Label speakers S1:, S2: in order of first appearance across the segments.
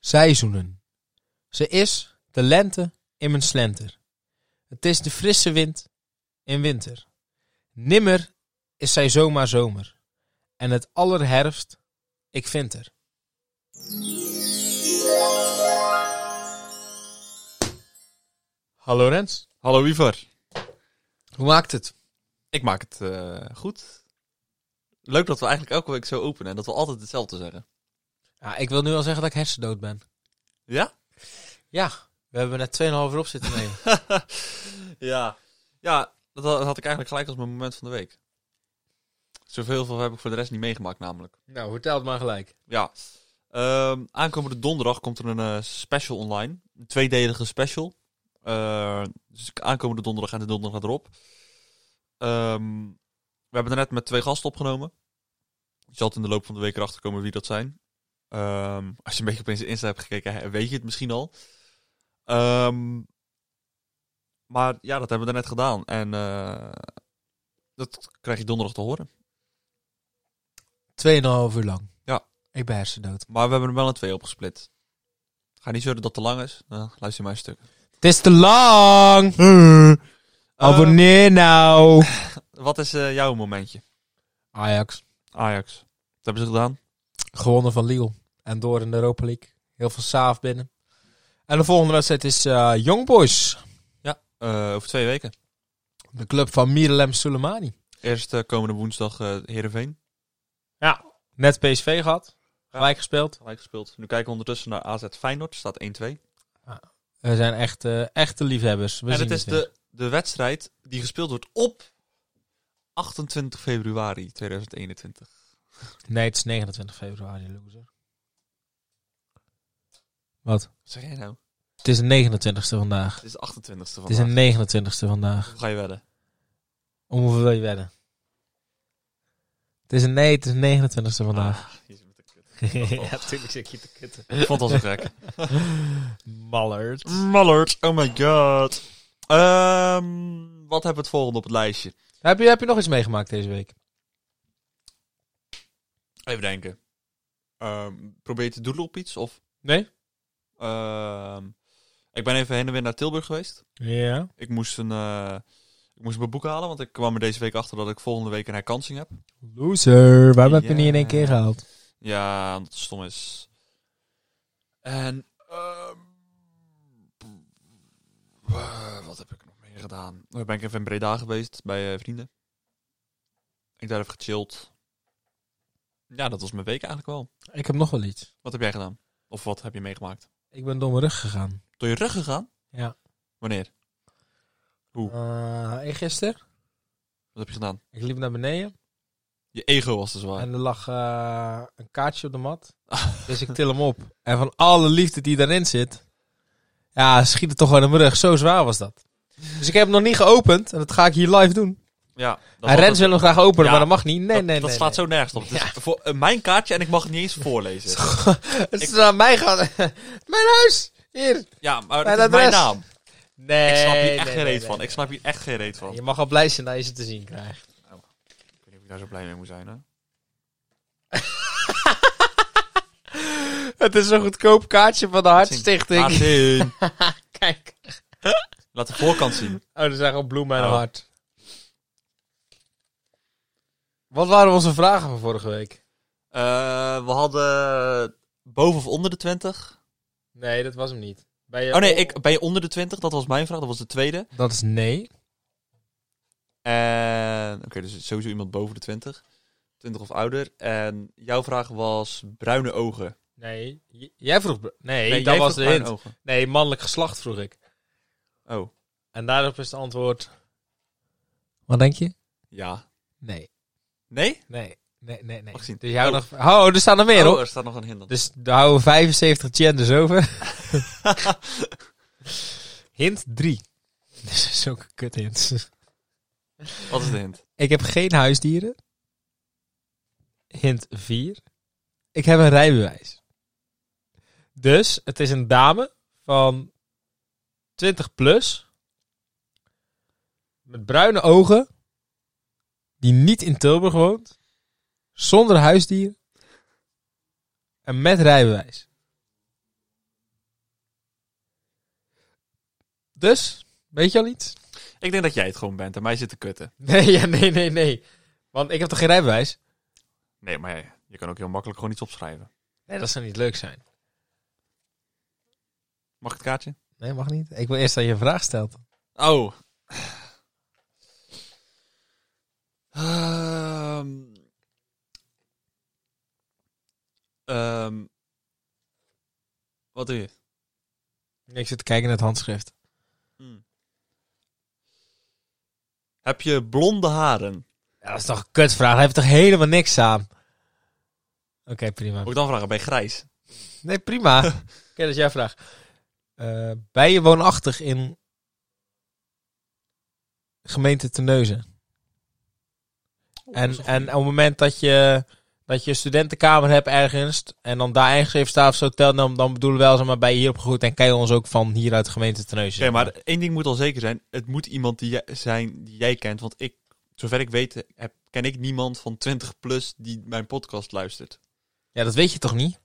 S1: Seizoenen. Ze is de lente in mijn slenter. Het is de frisse wind in winter. Nimmer is zij zomaar zomer. En het allerherfst, ik vind er. Hallo Rens.
S2: Hallo Ivar.
S1: Hoe maakt het?
S2: Ik maak het eh, goed. Leuk dat we eigenlijk elke week zo openen en dat we altijd hetzelfde zeggen.
S1: Ja, ik wil nu al zeggen dat ik hersendood ben.
S2: Ja?
S1: Ja, we hebben net 2,5 uur op zitten nemen.
S2: ja. Ja, dat had had ik eigenlijk gelijk als mijn moment van de week. Zoveel van heb ik voor de rest niet meegemaakt namelijk.
S1: nou, vertel het maar gelijk.
S2: Ja. Ehm, aankomende donderdag komt er een eh, special online. Een tweedelige special. Eh, dus aankomende donderdag en de donderdag erop. Ehm, we hebben er net met twee gasten opgenomen. Je zal het in de loop van de week erachter komen wie dat zijn. Ehm, als je een beetje op onze Insta hebt gekeken, he- weet je het misschien al. Ehm, maar ja, dat hebben we daarnet gedaan. En eh, dat krijg je donderdag te horen.
S1: 2,5 uur lang.
S2: Ja.
S1: Ik ben hersendood.
S2: Maar we hebben hem wel in twee opgesplit. Ga niet zeuren dat het te lang is. Nou, luister maar een stuk.
S1: Het is te lang.
S2: Ah,
S1: Abonneer nou.
S2: Eh, wat is eh, jouw momentje?
S1: Ajax.
S2: Ajax. Wat hebben ze gedaan?
S1: Gewonnen van Lille. En door in de Europa League. Heel veel saaf binnen. En de volgende wedstrijd is eh Young Boys.
S2: Eh, over twee weken.
S1: De club van Miralem Soleimani.
S2: Eerst eh, komende woensdag eh Heerenveen.
S1: Net PSV gehad. Gelijk gespeeld.
S2: Gelijk gespeeld. Nu kijken we ondertussen naar AZ Feyenoord. Staat 1-2.
S1: We zijn echt, eh, echte liefhebbers. We
S2: en
S1: zien
S2: het is de, de wedstrijd die gespeeld wordt op 28 februari 2021.
S1: weer. Nee, het is 29 februari, loser.
S2: Wat zeg jij nou?
S1: Het is de 29ste vandaag.
S2: Het is de 28 ste
S1: Het is de
S2: vandaag.
S1: 29ste vandaag.
S2: Hoe ga je wedden?
S1: Om hoeveel wil je wedden? Het is een nee, het is de 29ste vandaag.
S2: Ah, je zit met de kut.
S1: ja, tuurlijk zit ik hier te kutten.
S2: Ik vond het al zo gek.
S1: Mallard.
S2: Mallard, oh my god. Ehm, wat hebben we het volgende op het lijstje?
S1: Heb je, heb je nog iets meegemaakt deze week?
S2: Even denken. Ehm, probeer je te doelen op iets? Of,
S1: Nee.
S2: ehm, ik ben even heen en weer naar Tilburg geweest.
S1: Ja.
S2: Ik moest, een, eh, ik moest mijn boek halen, want ik kwam er deze week achter dat ik volgende week een herkansing heb.
S1: Loser, waarom heb je
S2: Ja.
S1: niet in één keer gehaald?
S2: Ja, omdat het stom is. En... ehm, eh, wat heb ik nog meer gedaan? Ik ben ik even in Breda geweest bij eh, vrienden. Ik daar even gechilled. Ja, dat was mijn week eigenlijk wel.
S1: Ik heb nog wel iets.
S2: Wat heb jij gedaan? Of wat heb je meegemaakt?
S1: Ik ben door mijn rug gegaan.
S2: Door je rug gegaan?
S1: Ja.
S2: Wanneer? Oeh.
S1: Eh, gisteren,
S2: Wat heb je gedaan?
S1: ik liep naar beneden
S2: Je ego was dus te zwaar.
S1: en er lag eh, een kaartje op de mat. Dus ik til hem op. En van alle liefde die daarin zit, ja, schiet het toch gewoon in mijn rug. Zo zwaar was dat. Dus ik heb hem nog niet geopend en dat ga ik hier live doen.
S2: ja, dat was
S1: en Rens
S2: het.
S1: wil hem graag openen,
S2: Ja.
S1: maar dat mag niet. Nee,
S2: dat,
S1: nee,
S2: dat
S1: nee.
S2: slaat zo nergens op. Dus voor, eh, mijn kaartje en ik mag het niet eens voorlezen.
S1: nee. Het is naar mij gaan. Mijn huis! Hier!
S2: Ja, maar
S1: Mijn
S2: dat is mijn
S1: adres.
S2: naam.
S1: Nee,
S2: Ik snap hier
S1: nee,
S2: echt
S1: nee,
S2: geen
S1: nee,
S2: reet van. Ik snap hier echt geen reet van.
S1: Je mag al blij zijn dat je ze te zien krijgt.
S2: Ik weet niet of ik daar zo blij mee moet zijn, hè?
S1: Het is een goedkoop kaartje van de
S2: Laat
S1: Hartstichting.
S2: zien.
S1: Kijk.
S2: Laat de voorkant zien.
S1: Oh, er zijn gewoon bloemen en
S2: Oh.
S1: een hart. Wat waren onze vragen van vorige week?
S2: Eh, we hadden boven of onder de 20.
S1: Nee, dat was hem niet. Bij je
S2: Oh nee, ik, ben je onder de 20? Dat was mijn vraag. Dat was de tweede.
S1: Dat is nee.
S2: En oké, dus het is sowieso iemand boven de 20. 20 of ouder. En jouw vraag was bruine ogen.
S1: Nee. J- jij vroeg... br- Nee,
S2: Nee,
S1: dat
S2: jij
S1: was
S2: vroeg
S1: de hint.
S2: bruine ogen.
S1: Nee, mannelijk geslacht vroeg ik.
S2: Oh,
S1: En daarop is het antwoord... Wat denk je?
S2: ja.
S1: Nee.
S2: Nee?
S1: Nee. Nee, nee, nee.
S2: Mag ik zien?
S1: Dus jou
S2: Oh.
S1: nog... Oh, er staan er meer
S2: Oh,
S1: op.
S2: er staat nog een hint op.
S1: Dus daar houden we 75 genders over. hint 3. Dit is zulke kut hint.
S2: Wat is de hint?
S1: Ik heb geen huisdieren. Hint 4. Ik heb een rijbewijs. Dus het is een dame van 20 plus. Met bruine ogen. Die niet in Tilburg woont. Zonder huisdier. En met rijbewijs. Dus, weet je al iets?
S2: Ik denk dat jij het gewoon bent en mij zit te kutten.
S1: Nee, ja, nee, nee, nee. Want ik heb toch geen rijbewijs?
S2: Nee, maar ja, je kan ook heel makkelijk gewoon iets opschrijven.
S1: Nee, dat zou niet leuk zijn.
S2: Mag ik het kaartje?
S1: Nee, mag niet. Ik wil eerst dat je een vraag stelt.
S2: Oh. Ehm. Ehm. wat doe je?
S1: Ik zit te kijken naar het handschrift.
S2: Hmm. Heb je blonde haren?
S1: Ja, dat is toch een kutvraag? Hij heeft toch helemaal niks aan? Oké, prima.
S2: Moet ik dan vragen, ben je grijs?
S1: Nee, prima. Oké, dat is jouw vraag. Eh, ben je woonachtig in gemeente Terneuzen? En, en op het moment dat je, dat je een studentenkamer hebt ergens en dan daar ingeschreven staat of zo, tel, dan, dan bedoelen we wel, zeg maar, ben je hier opgegroeid en ken je ons ook van hier uit de gemeente Terneuzen.
S2: Oké, maar één ding moet al zeker zijn. Het moet iemand die jij, zijn die jij kent. Want ik, zover ik weet, heb, ken ik niemand van 20 plus die mijn podcast luistert.
S1: Ja, dat weet je toch niet?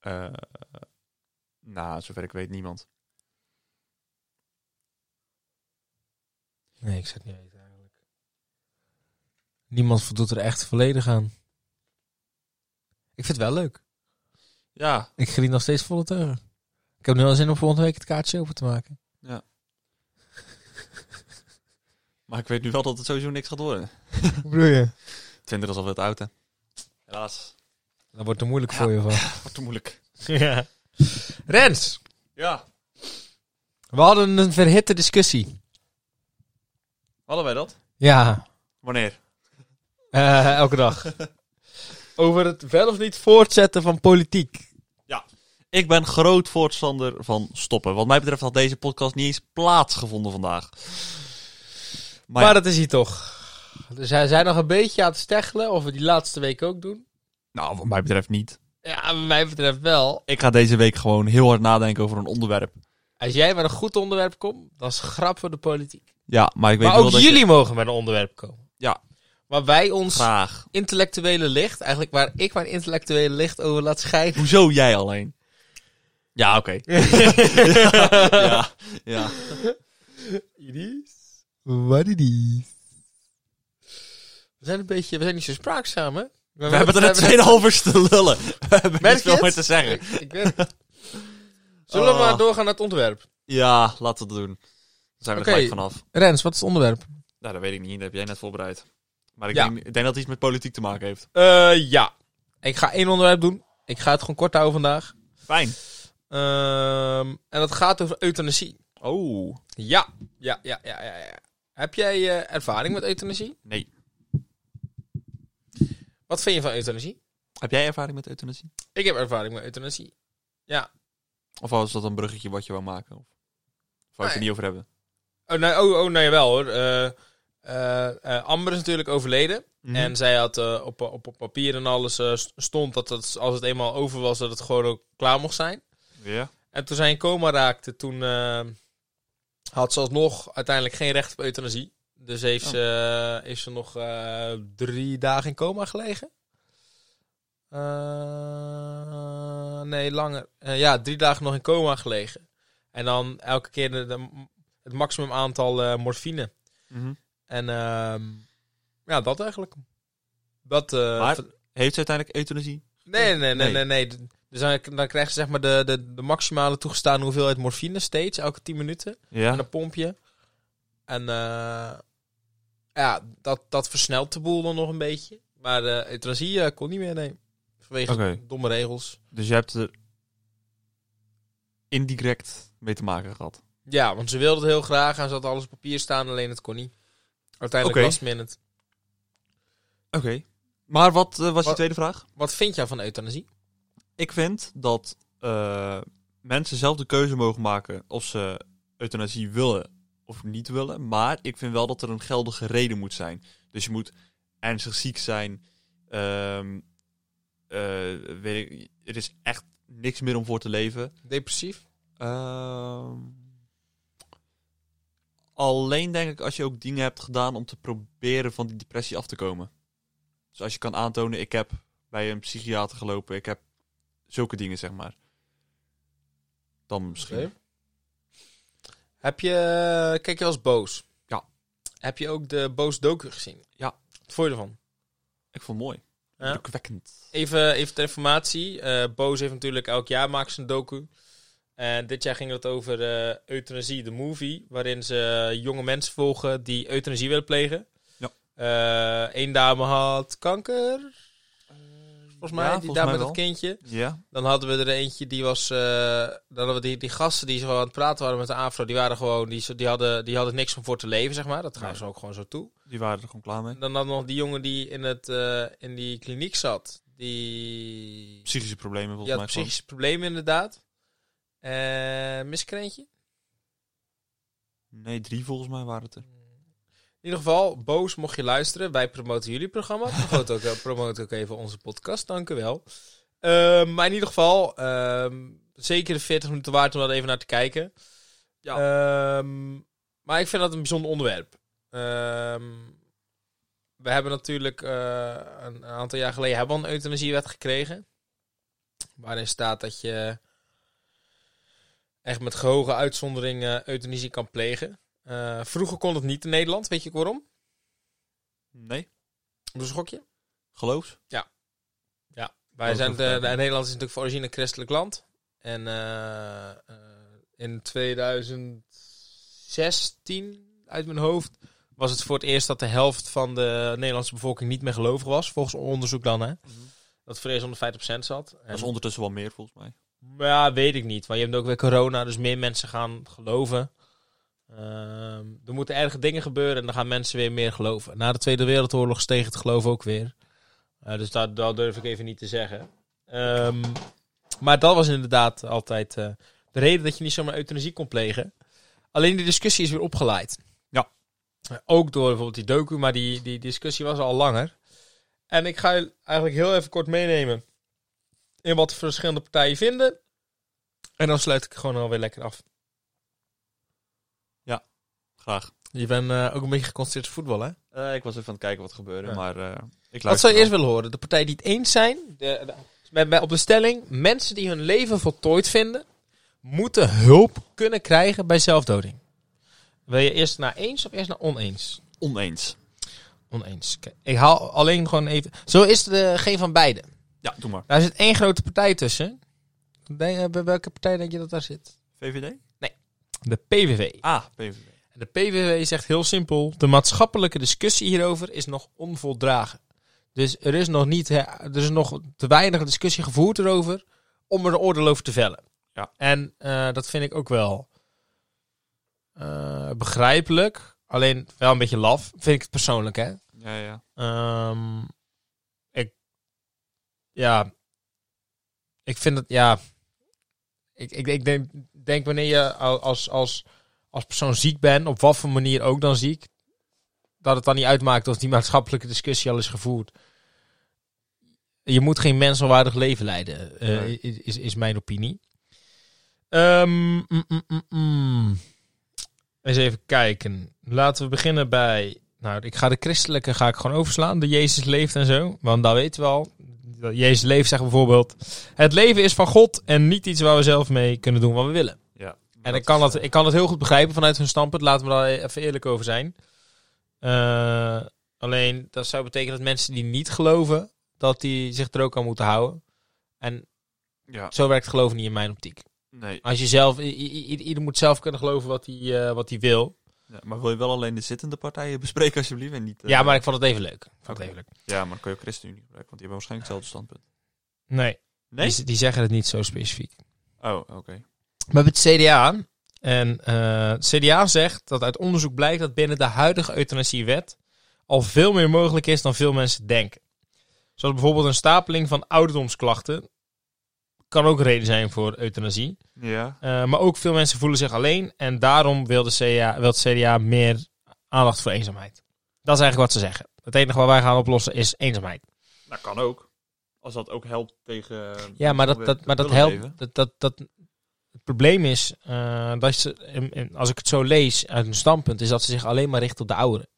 S2: Eh, nou, zover ik weet, niemand.
S1: Nee, ik zou het niet weten eigenlijk. Niemand voldoet er echt volledig aan. Ik vind het wel leuk.
S2: Ja,
S1: Ik geniet nog steeds volle teugen. Ik heb nu wel zin om volgende week het kaartje open te maken.
S2: maar ik weet nu wel dat het sowieso niks gaat worden.
S1: Hoe bedoel je?
S2: 20 is alweer het oude. Helaas.
S1: Dat wordt te moeilijk
S2: Ja.
S1: voor je van.
S2: Wordt te moeilijk.
S1: Ja. Rens,
S2: Ja,
S1: we hadden een verhitte discussie.
S2: hadden wij dat?
S1: Ja,
S2: Wanneer?
S1: eh, elke dag. Over het wel of niet voortzetten van politiek.
S2: Ik ben groot voorstander van stoppen. Wat mij betreft had deze podcast niet eens plaatsgevonden vandaag.
S1: Maar,
S2: Maar, ja,
S1: dat is hier toch. Dus hij zijn nog een beetje aan het steggelen of we die laatste week ook doen.
S2: nou, wat mij betreft niet.
S1: Ja, wat mij betreft wel.
S2: Ik ga deze week gewoon heel hard nadenken over een onderwerp.
S1: Als jij met een goed onderwerp komt, dat is grap voor de politiek.
S2: Ja, maar ik weet
S1: Maar
S2: wel
S1: ook
S2: dat
S1: jullie mogen met een onderwerp komen.
S2: Ja.
S1: Waar wij
S2: je...
S1: ons
S2: Graag.
S1: intellectuele licht, eigenlijk waar ik mijn intellectuele licht over laat schijnen.
S2: Hoezo jij alleen? Ja, oké. ja, ja.
S1: Wat is We zijn een beetje, we zijn niet zo spraakzaam, hè?
S2: We hebben er net 2,5 uur te lullen. We hebben
S1: Merk
S2: niet
S1: je
S2: veel
S1: het?
S2: meer te zeggen.
S1: Ik, ik weet het. Zullen we
S2: Oh.
S1: maar doorgaan naar het onderwerp?
S2: Ja, laten we dat doen. Dan zijn we
S1: Oké.
S2: er gelijk vanaf.
S1: Rens, wat is het onderwerp?
S2: Nou, dat weet ik niet. Dat heb jij net voorbereid. Maar ik,
S1: Ja.
S2: denk, ik denk dat het iets met politiek te maken heeft.
S1: Eh, ja. Ik ga één onderwerp doen. Ik ga het gewoon kort houden vandaag.
S2: Fijn.
S1: Ehm, en dat gaat over euthanasie.
S2: Oh.
S1: Ja, ja, ja, ja, ja. ja. Heb jij eh, ervaring met euthanasie?
S2: Nee.
S1: Wat vind je van euthanasie?
S2: Heb jij ervaring met euthanasie?
S1: Ik heb ervaring met euthanasie.
S2: Of was dat een bruggetje wat je wou maken? Of, of wou je het er
S1: Nee.
S2: niet over hebben?
S1: Oh, nee, oh, oh, nee wel hoor. Eh, eh, eh, Amber is natuurlijk overleden.
S2: Mhm.
S1: En zij had eh, op, op, op papier en alles eh, st- stond dat het, als het eenmaal over was, dat het gewoon ook klaar mocht zijn.
S2: Mhm. Ja.
S1: En toen zij in coma raakte, toen eh, had ze alsnog uiteindelijk geen recht op euthanasie. Dus heeft
S2: Oh.
S1: ze, is ze nog eh, drie dagen in coma gelegen. Eh, nee, langer. Eh, ja, drie dagen nog in coma gelegen. En dan elke keer de, de- het maximum aantal eh, morfine.
S2: Mhm.
S1: En ehm, ja, dat eigenlijk. Dat, eh,
S2: Maar-
S1: ver-
S2: Heeft ze uiteindelijk euthanasie?
S1: Nee, nee, nee,
S2: Nee.
S1: nee. nee. Dus dan, dan krijg je zeg maar de, de, de maximale toegestaande hoeveelheid morfine steeds, elke 10 minuten.
S2: Ja.
S1: En een pompje. En eh, ja, dat, dat versnelt de boel dan nog een beetje. Maar eh euthanasie eh, kon niet meer, nee. Vanwege
S2: Oké.
S1: domme regels.
S2: Dus je hebt er indirect mee te maken gehad.
S1: Ja, want ze wilde het heel graag en ze had alles op papier staan, alleen het kon niet. Uiteindelijk
S2: Oké.
S1: last minute.
S2: Oké. Maar wat eh, was je
S1: Wat-
S2: tweede vraag?
S1: Wat vind jij van euthanasie?
S2: Ik vind dat eh, mensen zelf de keuze mogen maken of ze euthanasie willen of niet willen. Maar ik vind wel dat er een geldige reden moet zijn. Dus je moet ernstig ziek zijn. ehm, eh, weet ik, er is echt niks meer om voor te leven.
S1: Depressief?
S2: Ehm, alleen denk ik als je ook dingen hebt gedaan om te proberen van die depressie af te komen. Dus als je kan aantonen, ik heb bij een psychiater gelopen, ik heb zulke dingen, zeg maar. Dan misschien.
S1: Oké. Heb je, eh, kijk je als boos?
S2: Ja.
S1: Heb je ook de boos docu gezien?
S2: Ja.
S1: Wat vond je ervan?
S2: Ik vond het mooi.
S1: Ja.
S2: Indrukwekkend.
S1: Even, even ter informatie. eh Boos heeft natuurlijk elk jaar maakt ze een docu. En dit jaar ging het over eh, euthanasie, de movie. Waarin ze eh, jonge mensen volgen die euthanasie willen plegen.
S2: Ja.
S1: Eén dame had kanker, Eh, volgens mij.
S2: Ja,
S1: die
S2: volgens
S1: dame
S2: mij
S1: met dat
S2: wel.
S1: kindje.
S2: Ja.
S1: Dan hadden we er eentje die was... eh, dan hadden we die, die gasten die zo aan het praten waren met de afro. Die waren gewoon... Die, die, hadden, die hadden niks om voor te leven, zeg maar. Dat gaan
S2: Nee.
S1: ze ook gewoon zo toe.
S2: Die waren er gewoon klaar mee.
S1: En dan had nog die jongen die in, het, eh, in die kliniek zat. Die...
S2: Psychische problemen volgens
S1: Ja,
S2: mij. gewoon.
S1: psychische problemen inderdaad. Eh miskrentje.
S2: Nee, drie volgens mij waren het er.
S1: In ieder geval, Boos, mocht je luisteren, wij promoten jullie programma. Promoot ook, eh, promoot ook even onze podcast, dank u wel. Ehm, maar in ieder geval, ehm, zeker de 40 minuten waard om dat even naar te kijken. Ehm, maar ik vind dat een bijzonder onderwerp. Ehm, we hebben natuurlijk eh, een, een aantal jaar geleden hebben we een euthanasiewet gekregen. Waarin staat dat je echt met gehoge uitzondering eh, euthanasie kan plegen. Eh, vroeger kon het niet in Nederland, weet je ook waarom?
S2: Nee,
S1: Doe een schokje.
S2: geloof.
S1: Wij
S2: Oh,
S1: zijn,
S2: dat
S1: de,
S2: is
S1: de-
S2: fijn.
S1: Nederland is natuurlijk van origine een christelijk land. En eh, eh, in 2016, uit mijn hoofd, was het voor het eerst dat de helft van de Nederlandse bevolking niet meer gelovig was. Volgens onderzoek dan, hè. Dat vrees onder 50% zat. En-
S2: Mhm. Dat is ondertussen wel meer volgens mij.
S1: Ja, weet ik niet. Maar je hebt ook weer corona, dus meer mensen gaan geloven. Ehm, er moeten erge dingen gebeuren en dan gaan mensen weer meer geloven. Na de Tweede Wereldoorlog steeg het geloof ook weer. Eh, dus dat, dat durf ik even niet te zeggen. Ehm, maar dat was inderdaad altijd eh, de reden dat je niet zomaar euthanasie kon plegen. Alleen die discussie is weer opgeleid.
S2: Ja.
S1: Eh, Ook door bijvoorbeeld die docu, maar die, die discussie was al langer. En ik ga je eigenlijk heel even kort meenemen in wat de verschillende partijen vinden. En dan sluit ik gewoon alweer lekker af.
S2: Graag.
S1: Je bent eh, ook een beetje geconcentreerd op voetbal, hè?
S2: Eh, ik was even aan het kijken wat gebeurde,
S1: Ja.
S2: maar eh, ik luister
S1: Wat zou je
S2: wel.
S1: eerst willen horen? De partijen die het eens zijn, de, de- met, met- op de stelling, mensen die hun leven voltooid vinden, moeten hulp kunnen krijgen bij zelfdoding. Wil je eerst naar eens of eerst naar oneens?
S2: Oneens.
S1: Oneens. Oké. Ik haal alleen gewoon even... Zo is er eh, geen van beide.
S2: Ja, doe maar.
S1: Daar zit één grote partij tussen. Denk- eh, Bij welke partij denk je dat daar zit?
S2: VVD?
S1: De PVV.
S2: Ah, PVV.
S1: En de PVV zegt heel simpel: de maatschappelijke discussie hierover is nog onvoldragen. Dus er is nog, niet, hè, er is nog te weinig discussie gevoerd erover om er een oordeel over te vellen.
S2: Ja.
S1: En eh, dat vind ik ook wel eh, begrijpelijk. Alleen wel een beetje laf, vind ik het persoonlijk. Hè?
S2: Ja, ja.
S1: Ehm, ik, ja, ik vind het, ja, ik, ik, ik denk, denk wanneer je al- als, als, als persoon ziek bent, op wat voor manier ook dan ziek, dat het dan niet uitmaakt of die maatschappelijke discussie al is gevoerd. Je moet geen mensenwaardig leven leiden, eh,
S2: Nee.
S1: is, is, is mijn opinie. Ehm, mm, mm, mm, mm. Eens even kijken. Laten we beginnen bij nou, ik ga de christelijke ga ik gewoon overslaan. De Jezus leeft en zo. Want dat weten we al. Dat Jezus leeft zegt bijvoorbeeld. Het leven is van God en niet iets waar we zelf mee kunnen doen wat we willen.
S2: ja.
S1: En ik kan, dat,
S2: eh,
S1: ik kan dat heel goed begrijpen vanuit hun standpunt. Laten we daar even eerlijk over zijn. Eh, alleen dat zou betekenen dat mensen die niet geloven, dat die zich er ook aan moeten houden. En
S2: Ja,
S1: zo werkt geloof niet in mijn optiek.
S2: nee.
S1: Als je zelf, i- i- i- ieder moet zelf kunnen geloven wat hij eh, wat hij wil.
S2: Ja, maar wil je wel alleen de zittende partijen bespreken alsjeblieft en niet... eh,
S1: Ja, maar ik vond het even leuk. Ik vond het
S2: Oké.
S1: even leuk.
S2: Ja, maar dan kun je ook ChristenUnie gebruiken, want die hebben waarschijnlijk hetzelfde standpunt.
S1: Nee,
S2: Nee?
S1: Die, die zeggen het niet zo specifiek.
S2: Oh, oké.
S1: Maar met het CDA. En eh, het CDA zegt dat uit onderzoek blijkt dat binnen de huidige euthanasiewet al veel meer mogelijk is dan veel mensen denken. Zoals bijvoorbeeld een stapeling van ouderdomsklachten kan ook een reden zijn voor euthanasie.
S2: Ja.
S1: Eh, maar ook veel mensen voelen zich alleen en daarom wil, de CDA, wil het CDA meer aandacht voor eenzaamheid. Dat is eigenlijk wat ze zeggen. Het enige wat wij gaan oplossen is eenzaamheid.
S2: Dat kan ook. Als dat ook helpt tegen...
S1: Ja, maar dat,
S2: Om
S1: dat,
S2: weer
S1: maar
S2: te
S1: dat
S2: willen
S1: helpt.
S2: leven.
S1: Dat, dat, dat, het probleem is eh, dat ze, in- in- als ik het zo lees uit hun standpunt, is dat ze zich alleen maar richten op de ouderen.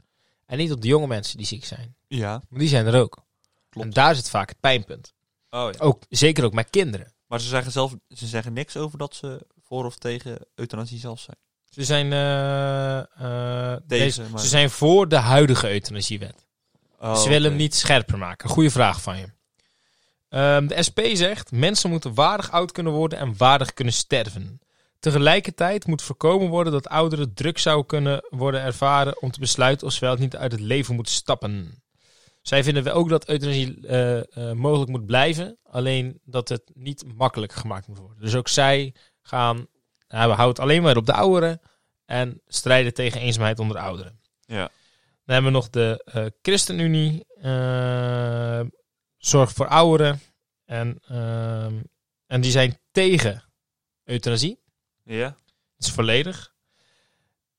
S1: En niet op de jonge mensen die ziek zijn.
S2: Ja.
S1: Want die zijn er ook.
S2: Klopt.
S1: En daar zit vaak het pijnpunt.
S2: Oh ja.
S1: Ook, zeker ook met kinderen.
S2: Maar ze zeggen, zelf, ze zeggen niks over dat ze voor of tegen euthanasie zelf zijn.
S1: Ze zijn, eh, eh, deze,
S2: maar-
S1: ze zijn voor de huidige euthanasiewet.
S2: Oh,
S1: ze willen hem niet scherper maken. Goeie vraag van je. Ehm, de SP zegt: mensen moeten waardig oud kunnen worden en waardig kunnen sterven. Tegelijkertijd moet voorkomen worden dat ouderen druk zouden kunnen worden ervaren om te besluiten of ze wel of niet uit het leven moeten stappen. Zij vinden wel ook dat euthanasie eh, eh, mogelijk moet blijven, alleen dat het niet makkelijk gemaakt moet worden. Dus ook zij gaan, nou, we houden het alleen maar op de ouderen en strijden tegen eenzaamheid onder ouderen.
S2: Ja.
S1: Dan hebben we nog de eh, ChristenUnie, eh, Zorg voor Ouderen. En, ehm, en die zijn tegen euthanasie.
S2: Ja?
S1: Dat is volledig.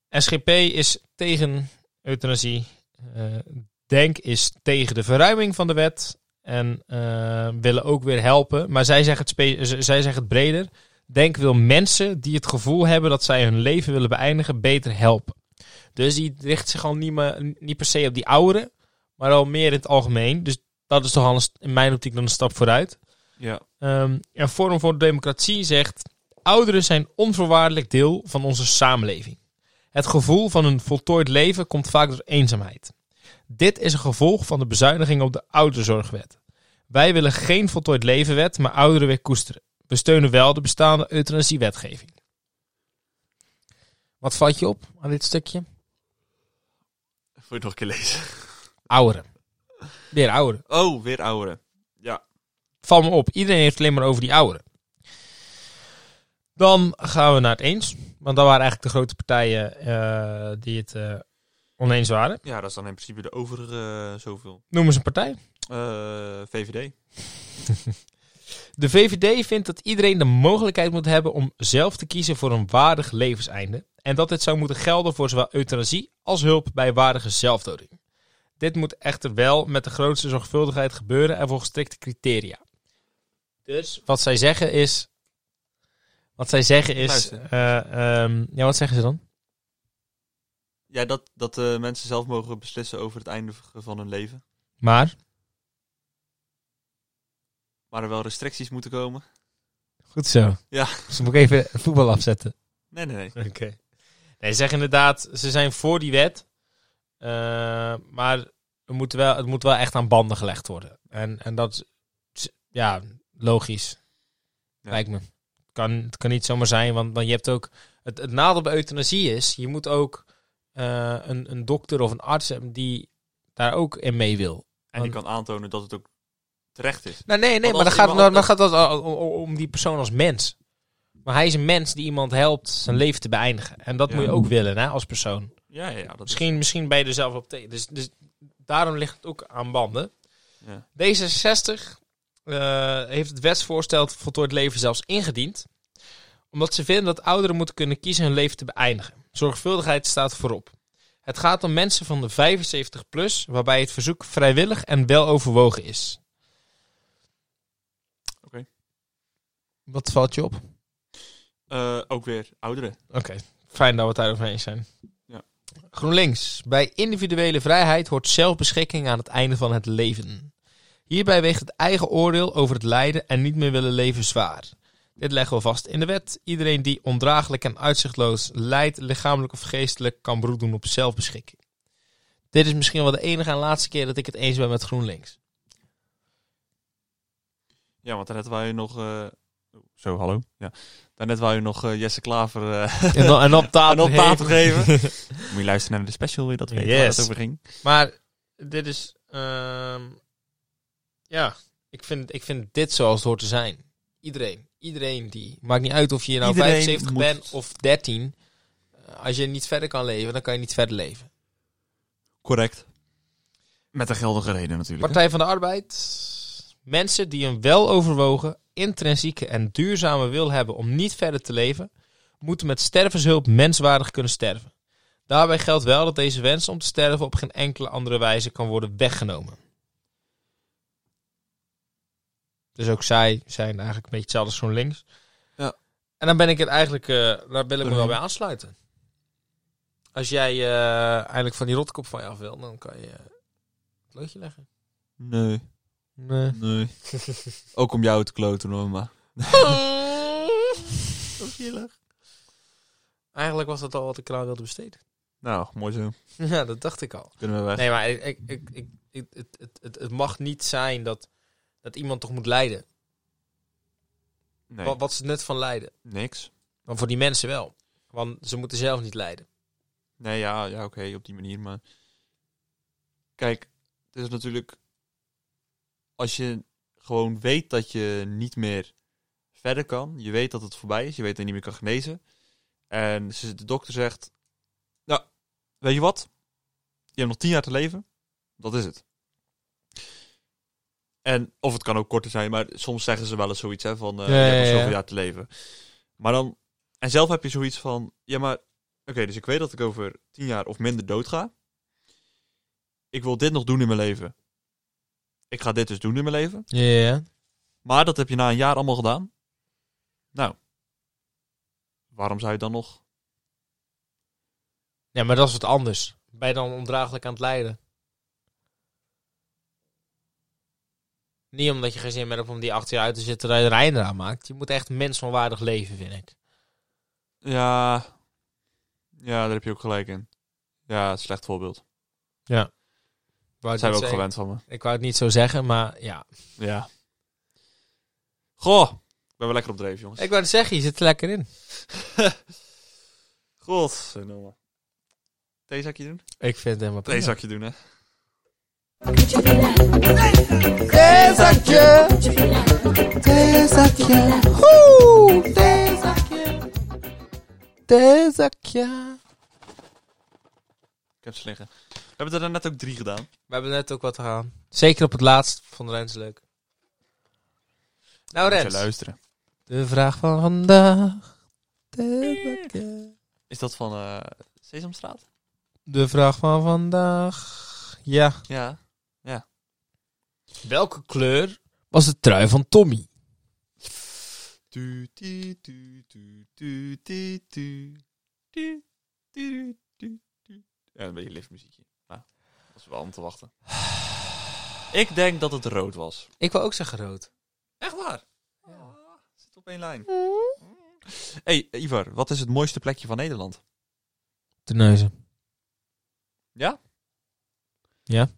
S1: SGP is tegen euthanasie. Eh, Denk is tegen de verruiming van de wet. En eh, willen ook weer helpen. Maar zij zeggen, het spe- z- zij zeggen het breder. Denk wil mensen die het gevoel hebben dat zij hun leven willen beëindigen beter helpen. Dus die richt zich al niet, meer, niet per se op die ouderen. Maar al meer in het algemeen. Dus dat is toch al een st- in mijn optiek dan een stap vooruit.
S2: Ja.
S1: Ehm, en Forum voor Democratie zegt: Ouderen zijn onvoorwaardelijk deel van onze samenleving. Het gevoel van een voltooid leven komt vaak door eenzaamheid. Dit is een gevolg van de bezuiniging op de ouderenzorgwet. Wij willen geen voltooid levenwet, maar ouderen weer koesteren. We steunen wel de bestaande euthanasiewetgeving. Wat valt je op aan dit stukje?
S2: Wil je het nog een keer lezen?
S1: Ouderen. Weer ouderen.
S2: Oh, weer ouderen.
S1: Val me op, iedereen heeft het alleen maar over die ouderen. Dan gaan we naar het eens. Want dat waren eigenlijk de grote partijen eh, die het eh, oneens waren.
S2: Ja, dat is dan in principe de overige eh, zoveel.
S1: Noem eens een partij.
S2: Eh, VVD.
S1: De VVD vindt dat iedereen de mogelijkheid moet hebben om zelf te kiezen voor een waardig levenseinde. En dat dit zou moeten gelden voor zowel euthanasie als hulp bij waardige zelfdoding. Dit moet echter wel met de grootste zorgvuldigheid gebeuren en volgens strikte criteria. Dus wat zij zeggen is. Wat zij zeggen is.
S2: Luister.
S1: eh, ehm, ja, wat zeggen ze dan?
S2: Ja, dat, dat eh, mensen zelf mogen beslissen over het einde van hun leven.
S1: Maar.
S2: Maar er wel restricties moeten komen.
S1: Goed zo.
S2: Ja.
S1: Dus dan moet ik even voetbal afzetten.
S2: Nee, nee, nee.
S1: Oké. Nee, ze zeggen inderdaad, ze zijn voor die wet. Eh, maar er moet wel, het moet wel echt aan banden gelegd worden. En, en dat is ja, logisch.
S2: Ja.
S1: Lijkt me. Kan, het kan niet zomaar zijn, want, want je hebt ook. Het, het nadeel bij euthanasie is, je moet ook eh, een, een dokter of een arts hebben die daar ook in mee wil.
S2: En die kan aantonen dat het ook terecht is.
S1: Nou, nee, nee, maar
S2: Want
S1: dan
S2: als
S1: gaat, het-
S2: iemand-
S1: dan gaat het al- om, om die persoon als mens. Maar hij is een mens die iemand helpt zijn leven te beëindigen. En dat
S2: Ja.
S1: moet je ook willen, hè, als persoon.
S2: Ja, ja, ja, dat is-
S1: Misschien, misschien ben je er zelf op tegen. Dus, dus daarom ligt het ook aan banden.
S2: Ja.
S1: D66 eh, heeft het wetsvoorstel het voltooid leven zelfs ingediend. Omdat ze vinden dat ouderen moeten kunnen kiezen hun leven te beëindigen. Zorgvuldigheid staat voorop. Het gaat om mensen van de 75 plus, waarbij het verzoek vrijwillig en wel overwogen is.
S2: Oké.
S1: Wat valt je op?
S2: Eh, ook weer ouderen.
S1: Oké, fijn dat we het daarover eens zijn.
S2: Ja.
S1: GroenLinks. Bij individuele vrijheid hoort zelfbeschikking aan het einde van het leven. Hierbij weegt het eigen oordeel over het lijden en niet meer willen leven zwaar. Dit leggen we vast in de wet. Iedereen die ondraaglijk en uitzichtloos lijdt, lichamelijk of geestelijk, kan beroep doen op zelfbeschikking. Dit is misschien wel de enige en laatste keer dat ik het eens ben met GroenLinks.
S2: Ja, want daarnet wou je nog... eh, oh, Zo, hallo. Ja. Daarnet wou je nog eh, Jesse Klaver eh,
S1: En dan, en dan
S2: een
S1: tafel
S2: optaat geven. Moet je luisteren naar de special, wil je dat weten waar
S1: Yes.
S2: het over ging.
S1: Maar dit is. ehm, ja, ik vind, ik vind dit zoals het hoort te zijn. Iedereen. Iedereen die. Maakt niet uit of je nou
S2: Iedereen
S1: 75
S2: moet-
S1: bent of 13. eh, Als je niet verder kan leven, dan kan je niet verder leven.
S2: Correct. Met een geldige reden natuurlijk. hè?
S1: Partij van de Arbeid. Mensen die een weloverwogen, intrinsieke en duurzame wil hebben om niet verder te leven, moeten met stervenshulp menswaardig kunnen sterven. Daarbij geldt wel dat deze wens om te sterven op geen enkele andere wijze kan worden weggenomen. Dus ook zij zijn eigenlijk een beetje hetzelfde als GroenLinks.
S2: Ja.
S1: En dan ben ik het eigenlijk, eh, daar wil ik me wel
S2: Doorheen.
S1: bij aansluiten. Als jij eh, eigenlijk van die rotkop van je af wil, dan kan je eh, het loodje leggen.
S2: Nee, nee. ook om jou te kloten hoor, maar... Zo zielig.
S1: Eigenlijk was dat al wat ik eraan wilde besteden.
S2: Nou, mooi zo.
S1: Ja, dat dacht ik al.
S2: Kunnen we weg.
S1: Nee, maar ik, ik, ik, ik, ik- het, het, het, het mag niet zijn dat, dat iemand toch moet lijden.
S2: Nee,
S1: Wat, wat is het nut van lijden?
S2: niks.
S1: Maar voor die mensen wel. Want ze moeten zelf niet lijden.
S2: Nee, ja, ja oké, op die manier. Maar kijk, het is natuurlijk... Als je gewoon weet dat je niet meer verder kan. Je weet dat het voorbij is. Je weet dat je niet meer kan genezen. En ze- de dokter zegt... Nou, weet je wat? Je hebt nog tien jaar te leven. Dat is het. En, of het kan ook korter zijn, maar soms zeggen ze wel eens zoiets hè, van eh,
S1: Ja,
S2: je hebt nog
S1: ja,
S2: zoveel
S1: ja.
S2: jaar te leven. Maar dan, en zelf heb je zoiets van, ja maar, oké, dus ik weet dat ik over tien jaar of minder dood ga. Ik wil dit nog doen in mijn leven. Ik ga dit dus doen in mijn leven.
S1: Ja.
S2: Maar dat heb je na een jaar allemaal gedaan. Nou, waarom zou je dan nog?
S1: Ja, maar dat is wat anders. Ben je dan ondraaglijk aan het lijden? Niet omdat je geen zin meer hebt om die acht jaar uit te zitten dat je er een einde aan maakt. Je moet echt mensonwaardig leven, vind ik.
S2: Ja, ja, daar heb je ook gelijk in. Ja, slecht voorbeeld.
S1: Wou
S2: Dat
S1: het
S2: zijn we
S1: niet
S2: ook
S1: zeggen.
S2: gewend van me.
S1: Ik wou het niet zo zeggen, maar ja.
S2: Ja. Goh, ik ben wel lekker op dreef, jongens.
S1: Ik wou het zeggen, je zit er lekker in.
S2: God. Theezakje doen?
S1: Ik vind het helemaal prima.
S2: Theezakje doen, hè.
S1: Theezakje! Theezakje! Hoe! Theezakje! Theezakje!
S2: Ik heb ze liggen. We hebben er net ook drie gedaan.
S1: We hebben net ook wat gedaan. Zeker op het laatst vond Rens leuk. Nou
S2: Moet je
S1: Rens,
S2: luisteren.
S1: de vraag van vandaag. Theezakje.
S2: Is dat van eh, Sesamstraat?
S1: De vraag van vandaag. Ja.
S2: Ja.
S1: Welke kleur was de trui van Tommy?
S2: Tu, tu, tu, tu, tu, tu, tu. Tu, tu, tu, tu. Ja, een beetje liftmuziekje. Maar dat is wel om te wachten. Ik denk dat het rood was.
S1: Ik wil ook zeggen rood.
S2: Echt waar? Ja. Zit op één lijn.
S1: Hmm.
S2: hey, Ivar, wat is het mooiste plekje van Nederland?
S1: De neuzen.
S2: Ja?
S1: Ja.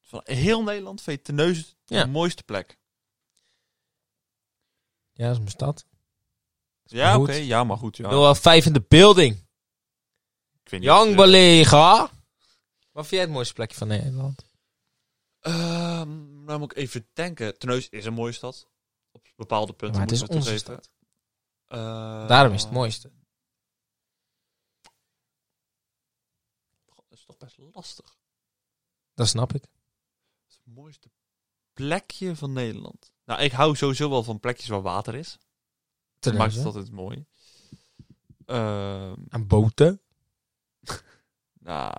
S2: Van heel Nederland vind je Terneuzen
S1: Ja.
S2: de mooiste plek.
S1: Ja, dat is mijn stad.
S2: Ja,
S1: goed.
S2: oké. Ja, maar goed. Ja.
S1: Noël vijf in de building.
S2: Ik vind niet,
S1: Young
S2: eh,
S1: Belega. Wat vind jij het mooiste plekje van Nederland?
S2: Ehm, nou moet ik even denken. Terneuzen is een mooie stad. Op bepaalde punten
S1: maar het is
S2: moeten we
S1: onze
S2: toegeven.
S1: stad.
S2: Eh,
S1: Daarom is het mooiste.
S2: God, Dat is toch best lastig.
S1: Dat snap ik.
S2: Het is het mooiste plekje van Nederland. Nou, ik hou sowieso wel van plekjes waar water is. Dat maakt het
S1: Terneuzen.
S2: altijd mooi. Ehm,
S1: Aan boten.
S2: nou,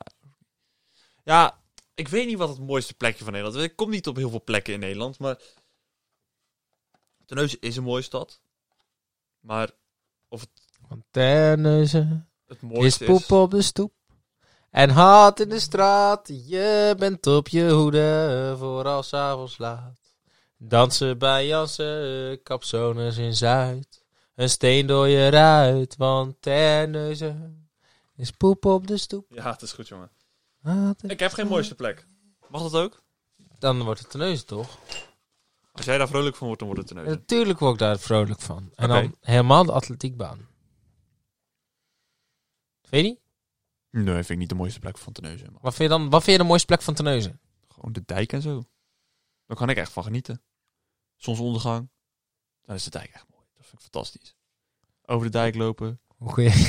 S2: ja, ik weet niet wat het mooiste plekje van Nederland is. Ik kom niet op heel veel plekken in Nederland, maar... Terneuzen is een mooie stad. Maar
S1: Van Terneuzen.
S2: het
S1: Is
S2: mooiste
S1: poep op de stoep. En haat in de straat. Je bent op je hoede voor als 's avonds laat. Dansen bij Jansen, kapzones in Zuid. Een steen door je ruit, want Terneuzen is poep op de stoep.
S2: Ja, het is goed, jongen.
S1: Haat in-
S2: Ik heb geen mooiste plek. Mag dat ook?
S1: Dan wordt het Terneuzen toch?
S2: Als jij daar vrolijk van wordt, dan wordt het een
S1: En natuurlijk word ik daar vrolijk van. En
S2: Oké.
S1: dan helemaal de atletiekbaan. Vind je niet?
S2: Nee, vind ik niet de mooiste plek van Terneuzen. Maar
S1: Wat vind je, dan, wat vind je de mooiste plek van Terneuzen?
S2: gewoon de dijk en zo. Daar kan ik echt van genieten. Zonsondergang. Dan is de dijk echt mooi. Dat vind ik fantastisch. Over de dijk lopen.
S1: Hoe kun je,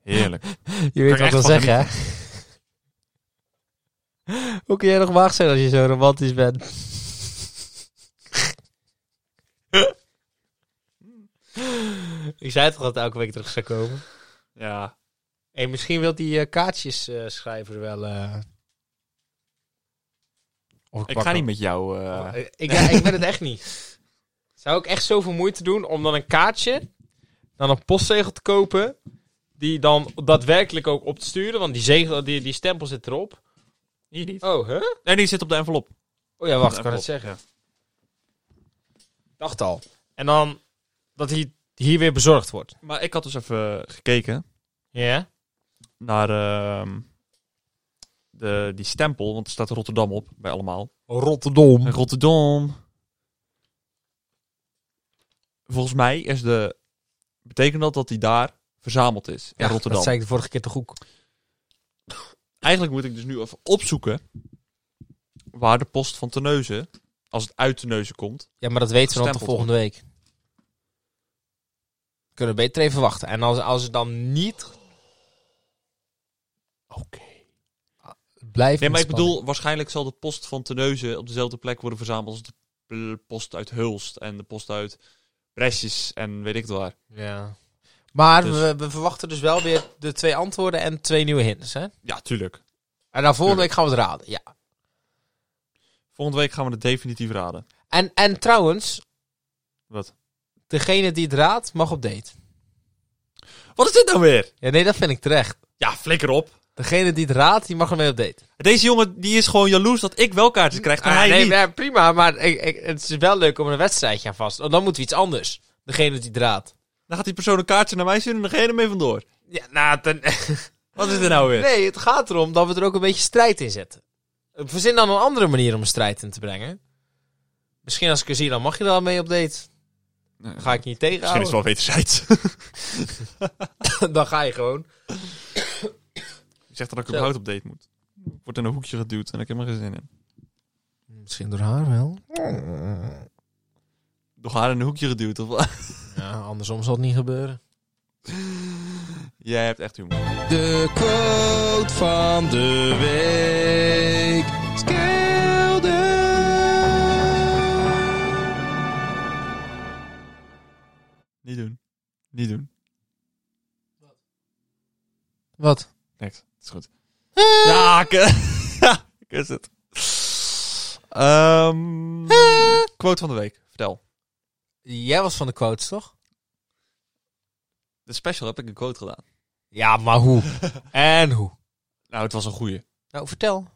S2: Heerlijk.
S1: je weet
S2: Kan
S1: wat
S2: ik
S1: ik wil
S2: echt van
S1: zeggen, hè? Hoe kun jij nog waag zijn als je zo romantisch bent? ik zei toch dat het elke week terug zou komen?
S2: ja.
S1: Hey, misschien wil die eh, kaartjes eh, schrijver wel... eh, Of
S2: Ik
S1: pak
S2: ga
S1: hem.
S2: niet met jou... eh,
S1: Eh, Ik, ja, ik ben het echt niet. Zou ik echt zoveel moeite doen om dan een kaartje, dan een postzegel te kopen, die dan daadwerkelijk ook op te sturen, want die, zegel, die, die stempel zit erop.
S2: Hier niet.
S1: Oh, hè?
S2: Nee, die zit op de envelop.
S1: Oh ja, wacht, ik
S2: Op de
S1: kan het zeggen.
S2: envelop,
S1: Dacht al. En dan dat hij hier weer bezorgd wordt.
S2: Maar ik had dus even gekeken
S1: Ja?
S2: naar ehm, de, die stempel, want er staat Rotterdam op bij allemaal.
S1: Rotterdam.
S2: En Rotterdam. Volgens mij is de. Betekent dat dat hij daar verzameld is in Rotterdam?
S1: Dat zei ik de vorige keer toch ook.
S2: Eigenlijk moet ik dus nu even opzoeken waar de post van Terneuzen, als het uit Terneuzen komt.
S1: Ja, maar dat weten we dan toch
S2: Gestempeld
S1: volgende week. Kunnen we beter even wachten. En als, als het dan niet
S2: Oké.
S1: blijft...
S2: Nee, maar
S1: met spanning.
S2: ik bedoel, waarschijnlijk zal de post van Terneuzen op dezelfde plek worden verzameld als de p- post uit Hulst en de post uit Bresjes en weet ik het waar.
S1: Ja. Maar
S2: Dus-
S1: we, we verwachten dus wel weer de twee antwoorden en twee nieuwe hints, hè?
S2: Ja, tuurlijk.
S1: En dan volgende week gaan we het raden, ja.
S2: Volgende week gaan we het definitief raden.
S1: En, en trouwens...
S2: Wat?
S1: Degene die het raadt, mag op date.
S2: Wat is dit nou weer?
S1: Ja, nee, dat vind ik terecht.
S2: Ja, flikker op.
S1: Degene die het raadt, die mag ermee op date.
S2: Deze jongen die is gewoon jaloers dat ik wel kaartjes krijg en
S1: Ah,
S2: hij
S1: nee,
S2: niet.
S1: ja, prima, maar ik, ik- het is wel leuk om een wedstrijdje aan vast. Oh, dan moeten we iets anders. Degene die draadt.
S2: Dan gaat die persoon een kaartje naar mij sturen en dan ga je ermee vandoor.
S1: Ja, nou, ten...
S2: Wat is dit nou weer?
S1: nee, het gaat erom dat we er ook een beetje strijd in zetten. Verzin dan een andere manier om een strijd in te brengen. Misschien als ik er zie, dan mag je er al mee op date. Dan ga ik niet
S2: Misschien
S1: tegenhouden.
S2: is het wel wederzijds.
S1: dan ga je gewoon.
S2: Ik zeg dat ik
S1: Zo.
S2: überhaupt op date moet. Ik word in een hoekje geduwd en ik heb er geen zin in.
S1: Misschien door haar wel.
S2: Door haar in een hoekje geduwd. Of...
S1: Ja, andersom zal het niet gebeuren.
S2: Jij hebt echt humor.
S1: De quote van de week.
S2: Niet doen. Niet doen.
S1: Wat?
S2: Niks. Het is goed. Ja, ik, ik is het. Ehm, quote van de week. Vertel.
S1: Jij was van de quotes, toch?
S2: De special heb ik een quote gedaan.
S1: Ja, maar hoe? en hoe?
S2: Nou, het was een goeie.
S1: Nou, vertel.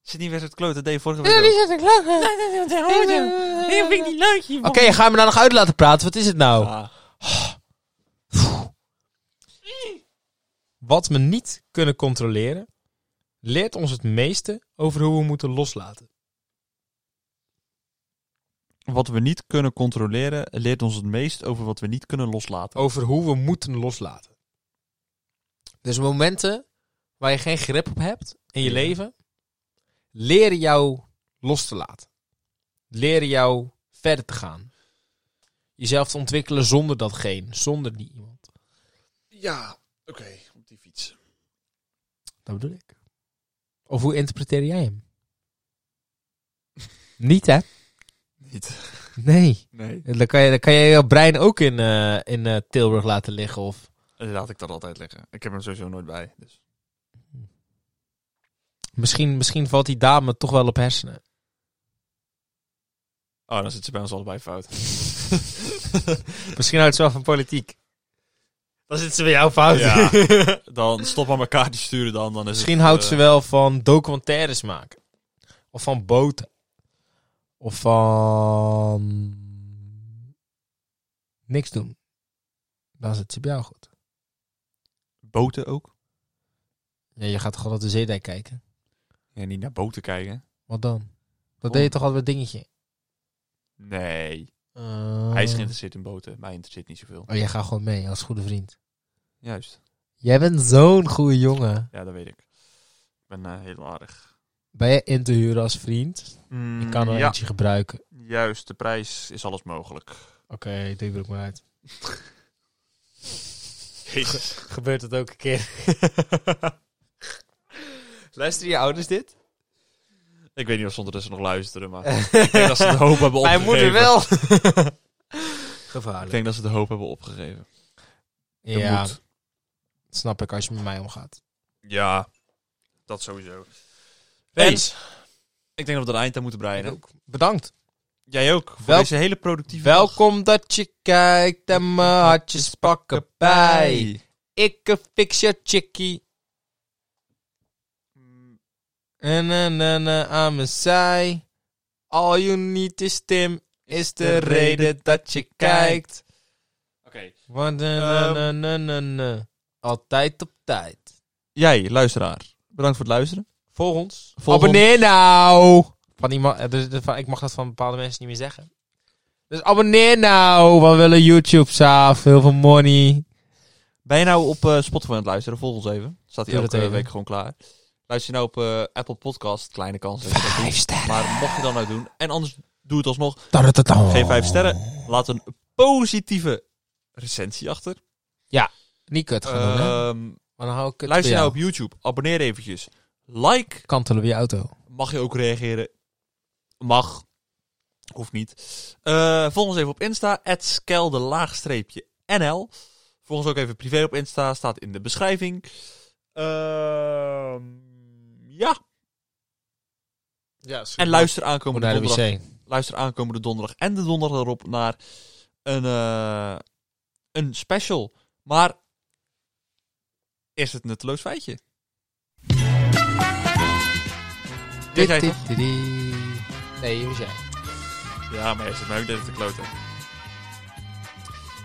S2: Zit niet weer het klote, dat deed je vorige
S1: Ja, die
S2: week ook.
S1: zit te klagen.
S3: Nee, vind ik niet leuk,
S1: Oké, ga je me nou nog uit laten praten? Wat is het nou?
S2: Ah,
S1: Wat we niet kunnen controleren, leert ons het meeste over hoe we moeten loslaten.
S2: Wat we niet kunnen controleren leert ons het meest over wat we niet kunnen loslaten.
S1: Over hoe we moeten loslaten. Dus momenten waar je geen grip op hebt in je
S2: Ja.
S1: leven, leren jou los te laten. Leren jou verder te gaan. Jezelf te ontwikkelen zonder datgene, zonder die iemand.
S2: Ja, oké. Op die fiets.
S1: Dat bedoel ik. Of hoe interpreteer jij hem? Niet, hè?
S2: Niet.
S1: Nee.
S2: Nee.
S1: Dan kan je, dan kan je je brein ook in, eh, in eh, Tilburg laten liggen. Of...
S2: Eh, Laat ik dat altijd liggen. Ik heb hem sowieso nooit bij. Dus.
S1: Misschien, misschien valt die dame toch wel op hersenen.
S2: Oh, dan zit ze bij ons allebei fout.
S1: Misschien houdt ze wel van politiek. Dan zit ze bij jou fout.
S2: Ja. dan stop aan elkaar te sturen dan. dan is
S1: Misschien
S2: het,
S1: houdt
S2: eh,
S1: ze wel van documentaires maken. Of van boten. Of van... Niks doen. Dan zit ze bij jou goed.
S2: Boten ook?
S1: Ja, je gaat toch altijd de zeedijk kijken?
S2: Ja, niet naar boten kijken.
S1: Wat dan? Dat
S2: Waarom?
S1: deed je toch altijd met dingetje?
S2: Nee.
S1: Eh,
S2: Hij is geïnteresseerd in boten. Mij interesseert niet zoveel.
S1: Oh, jij gaat gewoon mee als goede vriend.
S2: Juist.
S1: Jij bent zo'n goede jongen.
S2: Ja, dat weet ik. Ik ben eh, heel aardig.
S1: Ben je in te huren als vriend?
S2: Mm,
S1: Ik kan er
S2: ja,
S1: eentje gebruiken.
S2: juist. De prijs is alles mogelijk.
S1: Oké, doe ik maar uit.
S2: Jezus.
S1: Gebeurt het ook een keer. Luisteren je ouders dit?
S2: ik weet niet of ze ondertussen nog luisteren, maar ik denk dat ze de hoop hebben opgegeven.
S1: Mijn moeder wel.
S2: Ik
S1: Gevaarlijk.
S2: denk dat ze de hoop hebben opgegeven.
S1: ja,
S2: moet.
S1: snap ik als je met mij omgaat.
S2: Ja, dat sowieso.
S1: Wees.
S2: Ik denk dat we er een eind aan moeten breien.
S1: Bedankt.
S2: Jij ook, voor
S1: Wel-
S2: deze hele productieve
S1: Welkom dat je kijkt en mijn hartjes pakken bij.
S2: bij.
S1: Ik eh, fix je chickie.
S2: Mm,
S1: En na na na aan mijn zij. All you need is Tim is de reden dat je kijkt.
S2: Oké. Ehm.
S1: Want na, na, na, na, na. Altijd op tijd.
S2: Jij, luisteraar. Bedankt voor het luisteren.
S1: Volg ons.
S2: Volg
S1: Abonneer nou! Van iemand, eh, dus, dus van- ik mag dat van bepaalde mensen niet meer zeggen. Dus abonneer nou, want we willen YouTube saaf, heel veel money.
S2: Ben je nou op eh, Spotify aan het luisteren? Volg ons even. Staat hier
S1: Doe
S2: elke eh,
S1: dat even.
S2: week gewoon klaar. Luister je nou op eh, Apple Podcast? Kleine kans. dat je dat
S1: Vijf
S2: doet.
S1: sterren.
S2: Maar mocht je dan nou doen. En anders doe het alsnog.
S1: Tadatata.
S2: Geef vijf sterren. Laat een positieve recensie achter.
S1: Niet kut gaan doen, hè?
S2: Ehm,
S1: Maar dan hou ik het
S2: luister je
S1: voor
S2: nou
S1: jou.
S2: op YouTube. Abonneer eventjes. Like.
S1: Kantelen op je auto.
S2: Mag je ook reageren? Mag. Hoeft niet. Eh, volg ons even op Insta. Skelde laagstreepje NL. Volg ons ook even privé op Insta. Staat in de beschrijving. Ehm, ja.
S1: Ja,
S2: En luister
S1: Moet
S2: aankomende,
S1: naar de
S2: donderdag,
S1: wc.
S2: luister aankomende donderdag en de donderdag erop naar een, eh, een special. Maar is het nutteloos feitje? Weet jij toch?
S1: Nee, hoe jij.
S2: Ja, maar is het mij ook dat te kloten.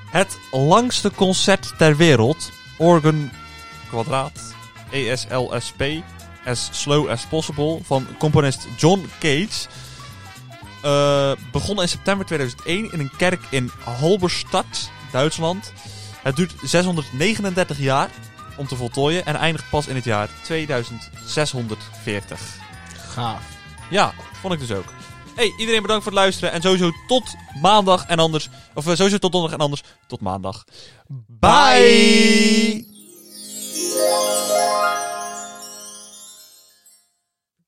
S2: Het langste concert ter wereld, Organ Kwadraat, E ESLSP, As Slow As Possible, van componist John Cage, eh, begon in september 2001 in een kerk in Halberstadt, Duitsland. Het duurt 639 jaar om te voltooien en eindigt pas in het jaar 2640.
S1: Gaaf.
S2: Ja, vond ik dus ook. Hey, iedereen bedankt voor het luisteren. En sowieso tot maandag en anders. Of eh, sowieso tot donderdag en anders. Tot maandag. Bye.